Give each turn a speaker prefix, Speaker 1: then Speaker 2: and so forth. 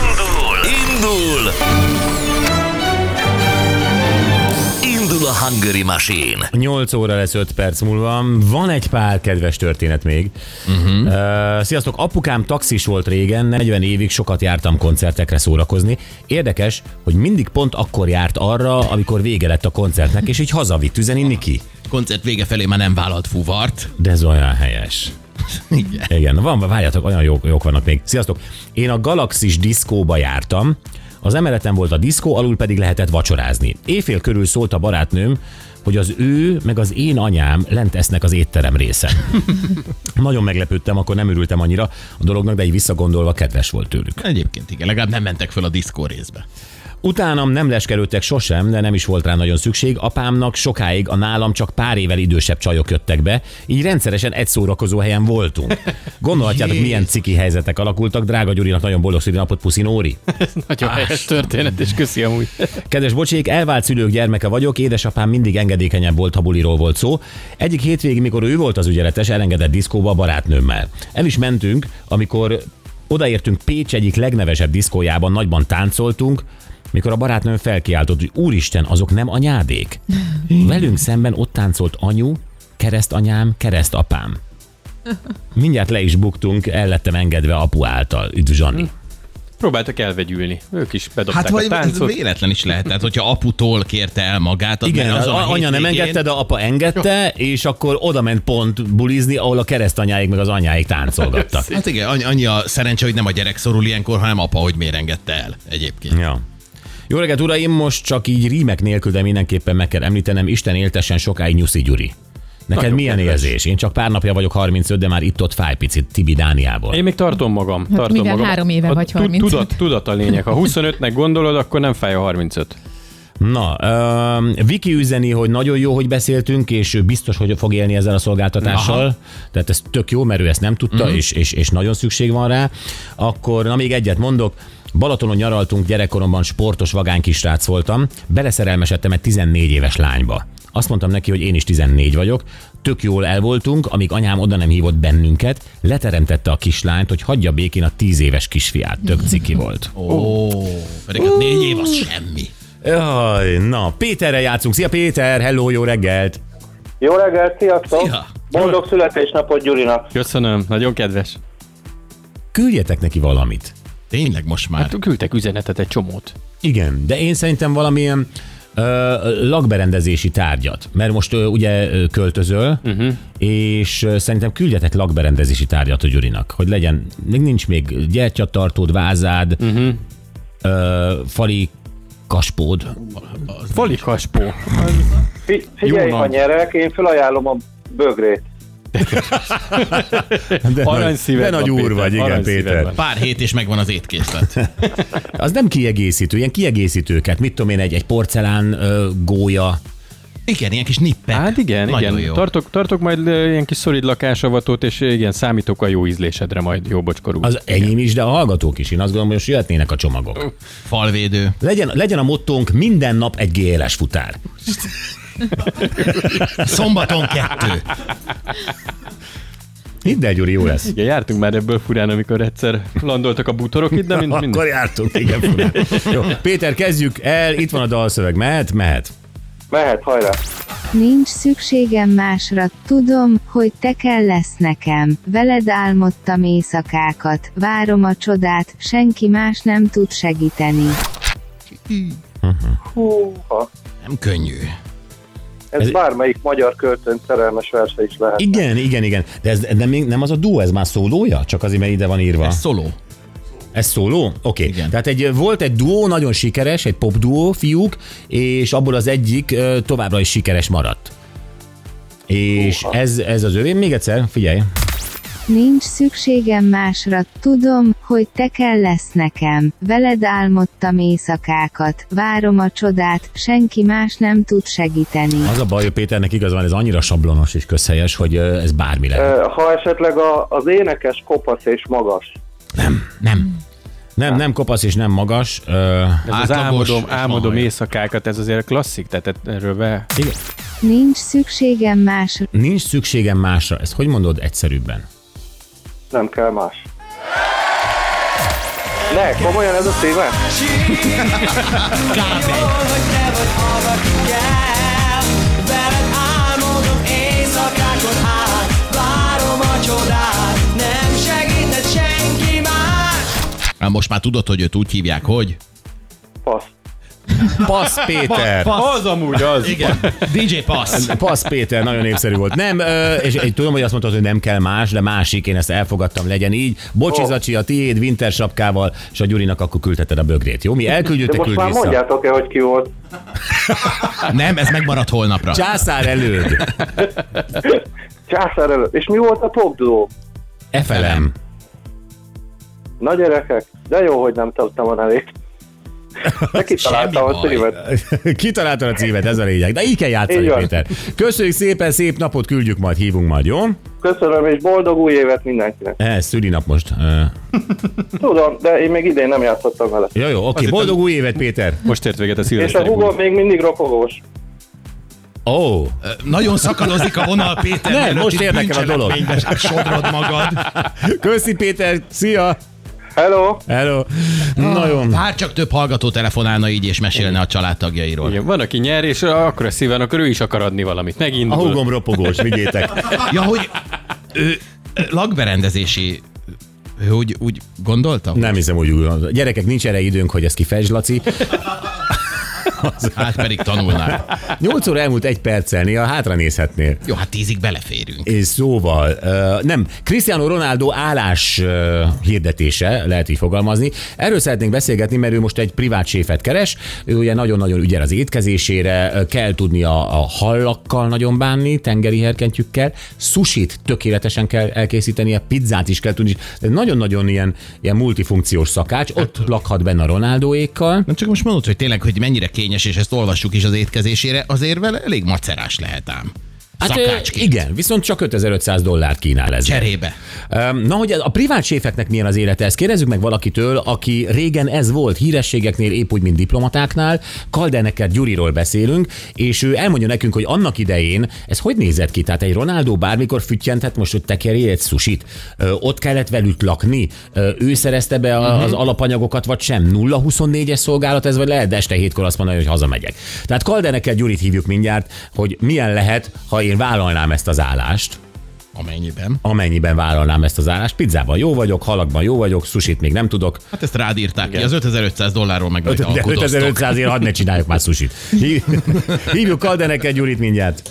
Speaker 1: Indul! Indul! Indul a Hungary Machine!
Speaker 2: 8 óra lesz 5 perc múlva. Van egy pár kedves történet még. Uh-huh. Uh, sziasztok, apukám taxis volt régen, 40 évig sokat jártam koncertekre szórakozni. Érdekes, hogy mindig pont akkor járt arra, amikor vége lett a koncertnek, és így hazavitt üzeninni ki.
Speaker 3: Koncert vége felé már nem vállalt fuvart.
Speaker 2: De ez olyan helyes.
Speaker 3: Igen.
Speaker 2: Igen, van, várjátok, olyan jók, jók vannak még. Sziasztok! Én a Galaxis diszkóba jártam, az emeleten volt a diszkó, alul pedig lehetett vacsorázni. Éjfél körül szólt a barátnőm, hogy az ő meg az én anyám lent esznek az étterem részen. Nagyon meglepődtem, akkor nem örültem annyira a dolognak, de így visszagondolva kedves volt tőlük.
Speaker 3: Egyébként igen, legalább nem mentek föl a diszkó részbe.
Speaker 2: Utánam nem leskerődtek sosem, de nem is volt rá nagyon szükség. Apámnak sokáig a nálam csak pár évvel idősebb csajok jöttek be, így rendszeresen egy szórakozó helyen voltunk. Gondolhatjátok, milyen ciki helyzetek alakultak. Drága Gyurinak nagyon boldog napot, puszi Nóri.
Speaker 4: Nagyon helyes történet, és köszi amúgy.
Speaker 2: Kedves bocsék, elvált szülők gyermeke vagyok, édesapám mindig engedékenyebb volt, ha buliról volt szó. Egyik hétvégén, mikor ő volt az ügyeletes, elengedett diszkóba a barátnőmmel. El is mentünk, amikor odaértünk Pécs egyik legnevesebb diszkójában, nagyban táncoltunk, mikor a barátnőm felkiáltott, hogy úristen, azok nem anyádék. Velünk szemben ott táncolt anyu, keresztanyám, keresztapám. Mindjárt le is buktunk, el lettem engedve apu által. Üdv Zsani.
Speaker 4: Próbáltak elvegyülni. Ők is bedobták
Speaker 3: Hát vagy
Speaker 4: a táncot.
Speaker 3: véletlen is lehet. Tehát, hogyha aputól kérte el magát, az
Speaker 2: Igen,
Speaker 3: mert
Speaker 2: az
Speaker 3: azon a
Speaker 2: anya nem
Speaker 3: hétvégén-
Speaker 2: engedte, de apa engedte, és akkor oda ment pont bulizni, ahol a keresztanyáig meg az anyáig táncolgattak.
Speaker 3: Hát igen, annyi, annyi a szerencse, hogy nem a gyerek szorul ilyenkor, hanem apa, hogy miért engedte el egyébként.
Speaker 2: Ja. Jó reggelt, uraim, most csak így rímek nélkül, de mindenképpen meg kell említenem, Isten éltessen sokáig Nyuszi Gyuri. Neked
Speaker 4: Nagyon
Speaker 2: milyen
Speaker 4: kedves.
Speaker 2: érzés? Én csak pár napja vagyok 35, de már itt-ott fáj picit Tibi Dániából.
Speaker 4: Én még tartom magam. tartom
Speaker 5: mivel
Speaker 4: magam.
Speaker 5: Hát három éve
Speaker 4: A
Speaker 5: vagy
Speaker 4: tu-
Speaker 5: 35.
Speaker 4: Tudat, tudat a lényeg. Ha 25-nek gondolod, akkor nem fáj a 35.
Speaker 2: Na, um, Viki üzeni, hogy nagyon jó, hogy beszéltünk, és ő biztos, hogy fog élni ezzel a szolgáltatással. Aha. Tehát ez tök jó, mert ő ezt nem tudta, uh-huh. és, és, és nagyon szükség van rá. Akkor, na még egyet mondok. Balatonon nyaraltunk, gyerekkoromban sportos vagány kisrác voltam. Beleszerelmesedtem egy 14 éves lányba. Azt mondtam neki, hogy én is 14 vagyok. Tök jól el voltunk, amíg anyám oda nem hívott bennünket, leteremtette a kislányt, hogy hagyja békén a 10 éves kisfiát. Tök ciki volt.
Speaker 3: Ó, pedig hát négy év az semmi.
Speaker 2: Jaj, na, Péterrel játszunk. Szia Péter, hello, jó reggelt!
Speaker 6: Jó reggelt, sziasztok!
Speaker 3: Szia!
Speaker 6: Boldog születésnapot Gyurinak!
Speaker 4: Köszönöm, nagyon kedves.
Speaker 2: Küldjetek neki valamit.
Speaker 3: Tényleg most már.
Speaker 4: Hát küldtek üzenetet egy csomót.
Speaker 2: Igen, de én szerintem valamilyen ö, lakberendezési tárgyat, mert most ö, ugye ö, költözöl, uh-huh. és ö, szerintem küldjetek lakberendezési tárgyat a Gyurinak, hogy legyen, még nincs még gyertyatartód, vázád, uh-huh. ö, fali kaspód.
Speaker 4: Falikaspó.
Speaker 6: Fi- figyelj,
Speaker 4: Jó
Speaker 6: ha
Speaker 4: nagy.
Speaker 6: nyerek, én felajánlom a bögrét.
Speaker 2: De,
Speaker 4: Aranyszíved
Speaker 2: de nagy
Speaker 4: van,
Speaker 2: úr
Speaker 4: Péter,
Speaker 2: vagy, igen,
Speaker 4: aranyszíved
Speaker 2: Péter.
Speaker 4: van.
Speaker 3: Pár hét és megvan az étkészlet.
Speaker 2: Az nem kiegészítő, ilyen kiegészítőket, mit tudom én, egy, egy porcelán ö, gólya,
Speaker 3: Igen, ilyen kis nippek.
Speaker 4: Hát igen,
Speaker 3: Nagyon
Speaker 4: igen.
Speaker 3: Jó.
Speaker 4: Tartok, tartok majd ö, ilyen kis szolid lakásavatót, és igen, számítok a jó ízlésedre majd, jó bocskorú.
Speaker 2: Az enyém is, de a hallgatók is. Én azt gondolom, hogy most jöhetnének a csomagok.
Speaker 3: Falvédő.
Speaker 2: Legyen, legyen a mottónk minden nap egy GLS futár.
Speaker 3: Szombaton kettő.
Speaker 2: Hidd el, Gyuri, jó lesz.
Speaker 4: Igen, jártunk már ebből furán, amikor egyszer landoltak a bútorok itt, de mind, mind.
Speaker 2: Akkor jártunk, igen. furán. Jó. Péter, kezdjük el, itt van a dalszöveg, mehet, mehet.
Speaker 6: Mehet, hajrá!
Speaker 7: Nincs szükségem másra, tudom, hogy te kell lesz nekem. Veled álmodtam éjszakákat, várom a csodát, senki más nem tud segíteni.
Speaker 6: Húha!
Speaker 3: Nem könnyű.
Speaker 6: Ez,
Speaker 2: Ez-
Speaker 6: ez bármelyik magyar költőn szerelmes verse is lehet.
Speaker 2: Igen, igen, igen. De ez nem, nem az a duó, ez már szólója? Csak azért, mert ide van írva.
Speaker 3: Ez szoló.
Speaker 2: Ez szóló? Oké. Okay.
Speaker 3: Igen.
Speaker 2: Tehát egy, volt egy duó, nagyon sikeres, egy pop duó, fiúk, és abból az egyik ö, továbbra is sikeres maradt. És ez, ez az övé. Még egyszer, figyelj.
Speaker 7: Nincs szükségem másra, tudom, hogy te kell lesz nekem. Veled álmodtam éjszakákat, várom a csodát, senki más nem tud segíteni.
Speaker 2: Az a baj, hogy Péternek igaz van, ez annyira sablonos és közhelyes, hogy ö, ez bármi lehet.
Speaker 6: Ö, Ha esetleg a, az énekes kopasz és magas.
Speaker 3: Nem.
Speaker 2: Nem, nem kopasz és nem magas. Ö,
Speaker 4: Ez az
Speaker 3: Átlagos
Speaker 4: álmodom,
Speaker 3: és
Speaker 4: álmodom
Speaker 3: mahaj.
Speaker 4: éjszakákat, ez azért klasszik, tehát e- erről be...
Speaker 2: igen.
Speaker 7: Nincs szükségem másra.
Speaker 2: Nincs szükségem másra. Ezt hogy mondod egyszerűbben?
Speaker 6: Nem kell más. Ne, komolyan ez a címe?
Speaker 3: Hát most már tudod, hogy őt úgy hívják, hogy?
Speaker 6: Passz.
Speaker 2: Passz Péter.
Speaker 4: Az amúgy az.
Speaker 3: Igen. DJ Pass.
Speaker 2: Passz Péter, nagyon népszerű volt. Nem, ö, és, és tudom, hogy azt mondtad, hogy nem kell más, de másik, én ezt elfogadtam, legyen így. Bocsi,
Speaker 6: Ó.
Speaker 2: Zacsi, a tiéd, Winter sapkával, és a Gyurinak akkor küldheted a bögrét, jó? Mi elküldjük,
Speaker 6: De
Speaker 2: te
Speaker 6: most
Speaker 2: küld
Speaker 6: már
Speaker 2: vissza.
Speaker 6: mondjátok-e, hogy ki volt?
Speaker 3: Nem, ez megmarad holnapra.
Speaker 2: Császár előd,
Speaker 6: Császár előtt. És mi volt a popduó?
Speaker 2: E efelem.
Speaker 6: Na gyerekek, de jó, hogy nem tudtam a nevét. De kitaláltam
Speaker 3: Semmi
Speaker 6: a
Speaker 3: baj.
Speaker 6: címet.
Speaker 2: Kitaláltad a címet, ez a lényeg. De így kell játszani,
Speaker 6: Így van.
Speaker 2: Péter. Köszönjük szépen, szép napot küldjük majd, hívunk majd, jó?
Speaker 6: Köszönöm, és boldog új évet mindenkinek.
Speaker 2: Ez szülinap most. Ö,
Speaker 6: Tudom, de én még idén nem játszottam vele.
Speaker 2: Jó, jó, oké.
Speaker 4: Azért
Speaker 2: Boldog új évet, Péter.
Speaker 4: Most ért véget a
Speaker 6: És a
Speaker 4: szilveszteri buli.
Speaker 6: hugom még mindig ropogós.
Speaker 2: Ó, oh,
Speaker 3: Ö, Nagyon szakadozik a vonal, Péter.
Speaker 2: Nem,
Speaker 3: mielőtt
Speaker 2: most
Speaker 3: itt
Speaker 2: érdekel a dolog.
Speaker 3: bűncselekménybe Sodrod magad.
Speaker 2: köszi Péter, szia!
Speaker 6: Hello!
Speaker 2: Hello!
Speaker 3: Ah.
Speaker 2: Na jó.
Speaker 3: Bár csak több hallgató telefonálna így és mesélne a családtagjairól.
Speaker 4: Igen, van, aki nyer, és akkor a szíven, akkor ő is akar adni valamit.
Speaker 2: A
Speaker 4: Megindul.
Speaker 2: húgom ropogós, vigyétek.
Speaker 3: Ja, hogy ő lakberendezési ő úgy, úgy gondolta?
Speaker 2: Nem hiszem, hogy úgy Gyerekek, nincs erre időnk, hogy ezt kifejtsd, Laci.
Speaker 3: Hát pedig tanulnál.
Speaker 2: 8 óra elmúlt egy perccel, néha hátra nézhetnél.
Speaker 3: Jó, hát tízig beleférünk.
Speaker 2: És szóval, ö, nem, Cristiano Ronaldo állás ö, hirdetése, lehet így fogalmazni. Erről szeretnénk beszélgetni, mert ő most egy privát séfet keres, ő ugye nagyon-nagyon ügyel az étkezésére, ö, kell tudni a, a hallakkal nagyon bánni, tengeri herkentjükkel, susit tökéletesen kell elkészítenie, pizzát is kell tudni, Ez nagyon-nagyon ilyen, ilyen multifunkciós szakács, ott lakhat benne a Ronaldoékkal.
Speaker 3: Nem csak most mondod, hogy tényleg, hogy mennyire kényes, és ezt olvassuk is az étkezésére, azért vele elég macerás lehet ám.
Speaker 2: Hát, ö,
Speaker 3: Szakácsként.
Speaker 2: igen, viszont csak 5500 dollárt kínál ez.
Speaker 3: Cserébe.
Speaker 2: Öm, Na, hogy a privát séfeknek milyen az élete, ezt kérdezzük meg valakitől, aki régen ez volt hírességeknél, épp úgy, mint diplomatáknál. Kaldenekert Gyuriról beszélünk, és ő elmondja nekünk, hogy annak idején ez hogy nézett ki? Tehát egy Ronaldo bármikor füttyenthet most, hogy tekerje egy susit. Ö, Ott kellett velük lakni. Ö, Ő szerezte be a- az alapanyagokat, vagy sem. 0-24-es szolgálat ez, vagy lehet de este hétkor azt mondani, hogy hazamegyek. Tehát Kaldenekert Gyurit hívjuk mindjárt, hogy milyen lehet, ha én vállalnám ezt az állást
Speaker 3: Amennyiben.
Speaker 2: amennyiben vállalnám ezt az állást. Pizzában jó vagyok, halakban jó vagyok, susit még nem tudok.
Speaker 3: Hát ezt rád írták ki, az 5500 dollárról meg majd
Speaker 2: De
Speaker 3: alkudoztok.
Speaker 2: 5500 ért hadd ne csináljuk már susit. Hív- Hívjuk Kaldeneket Gyurit mindjárt.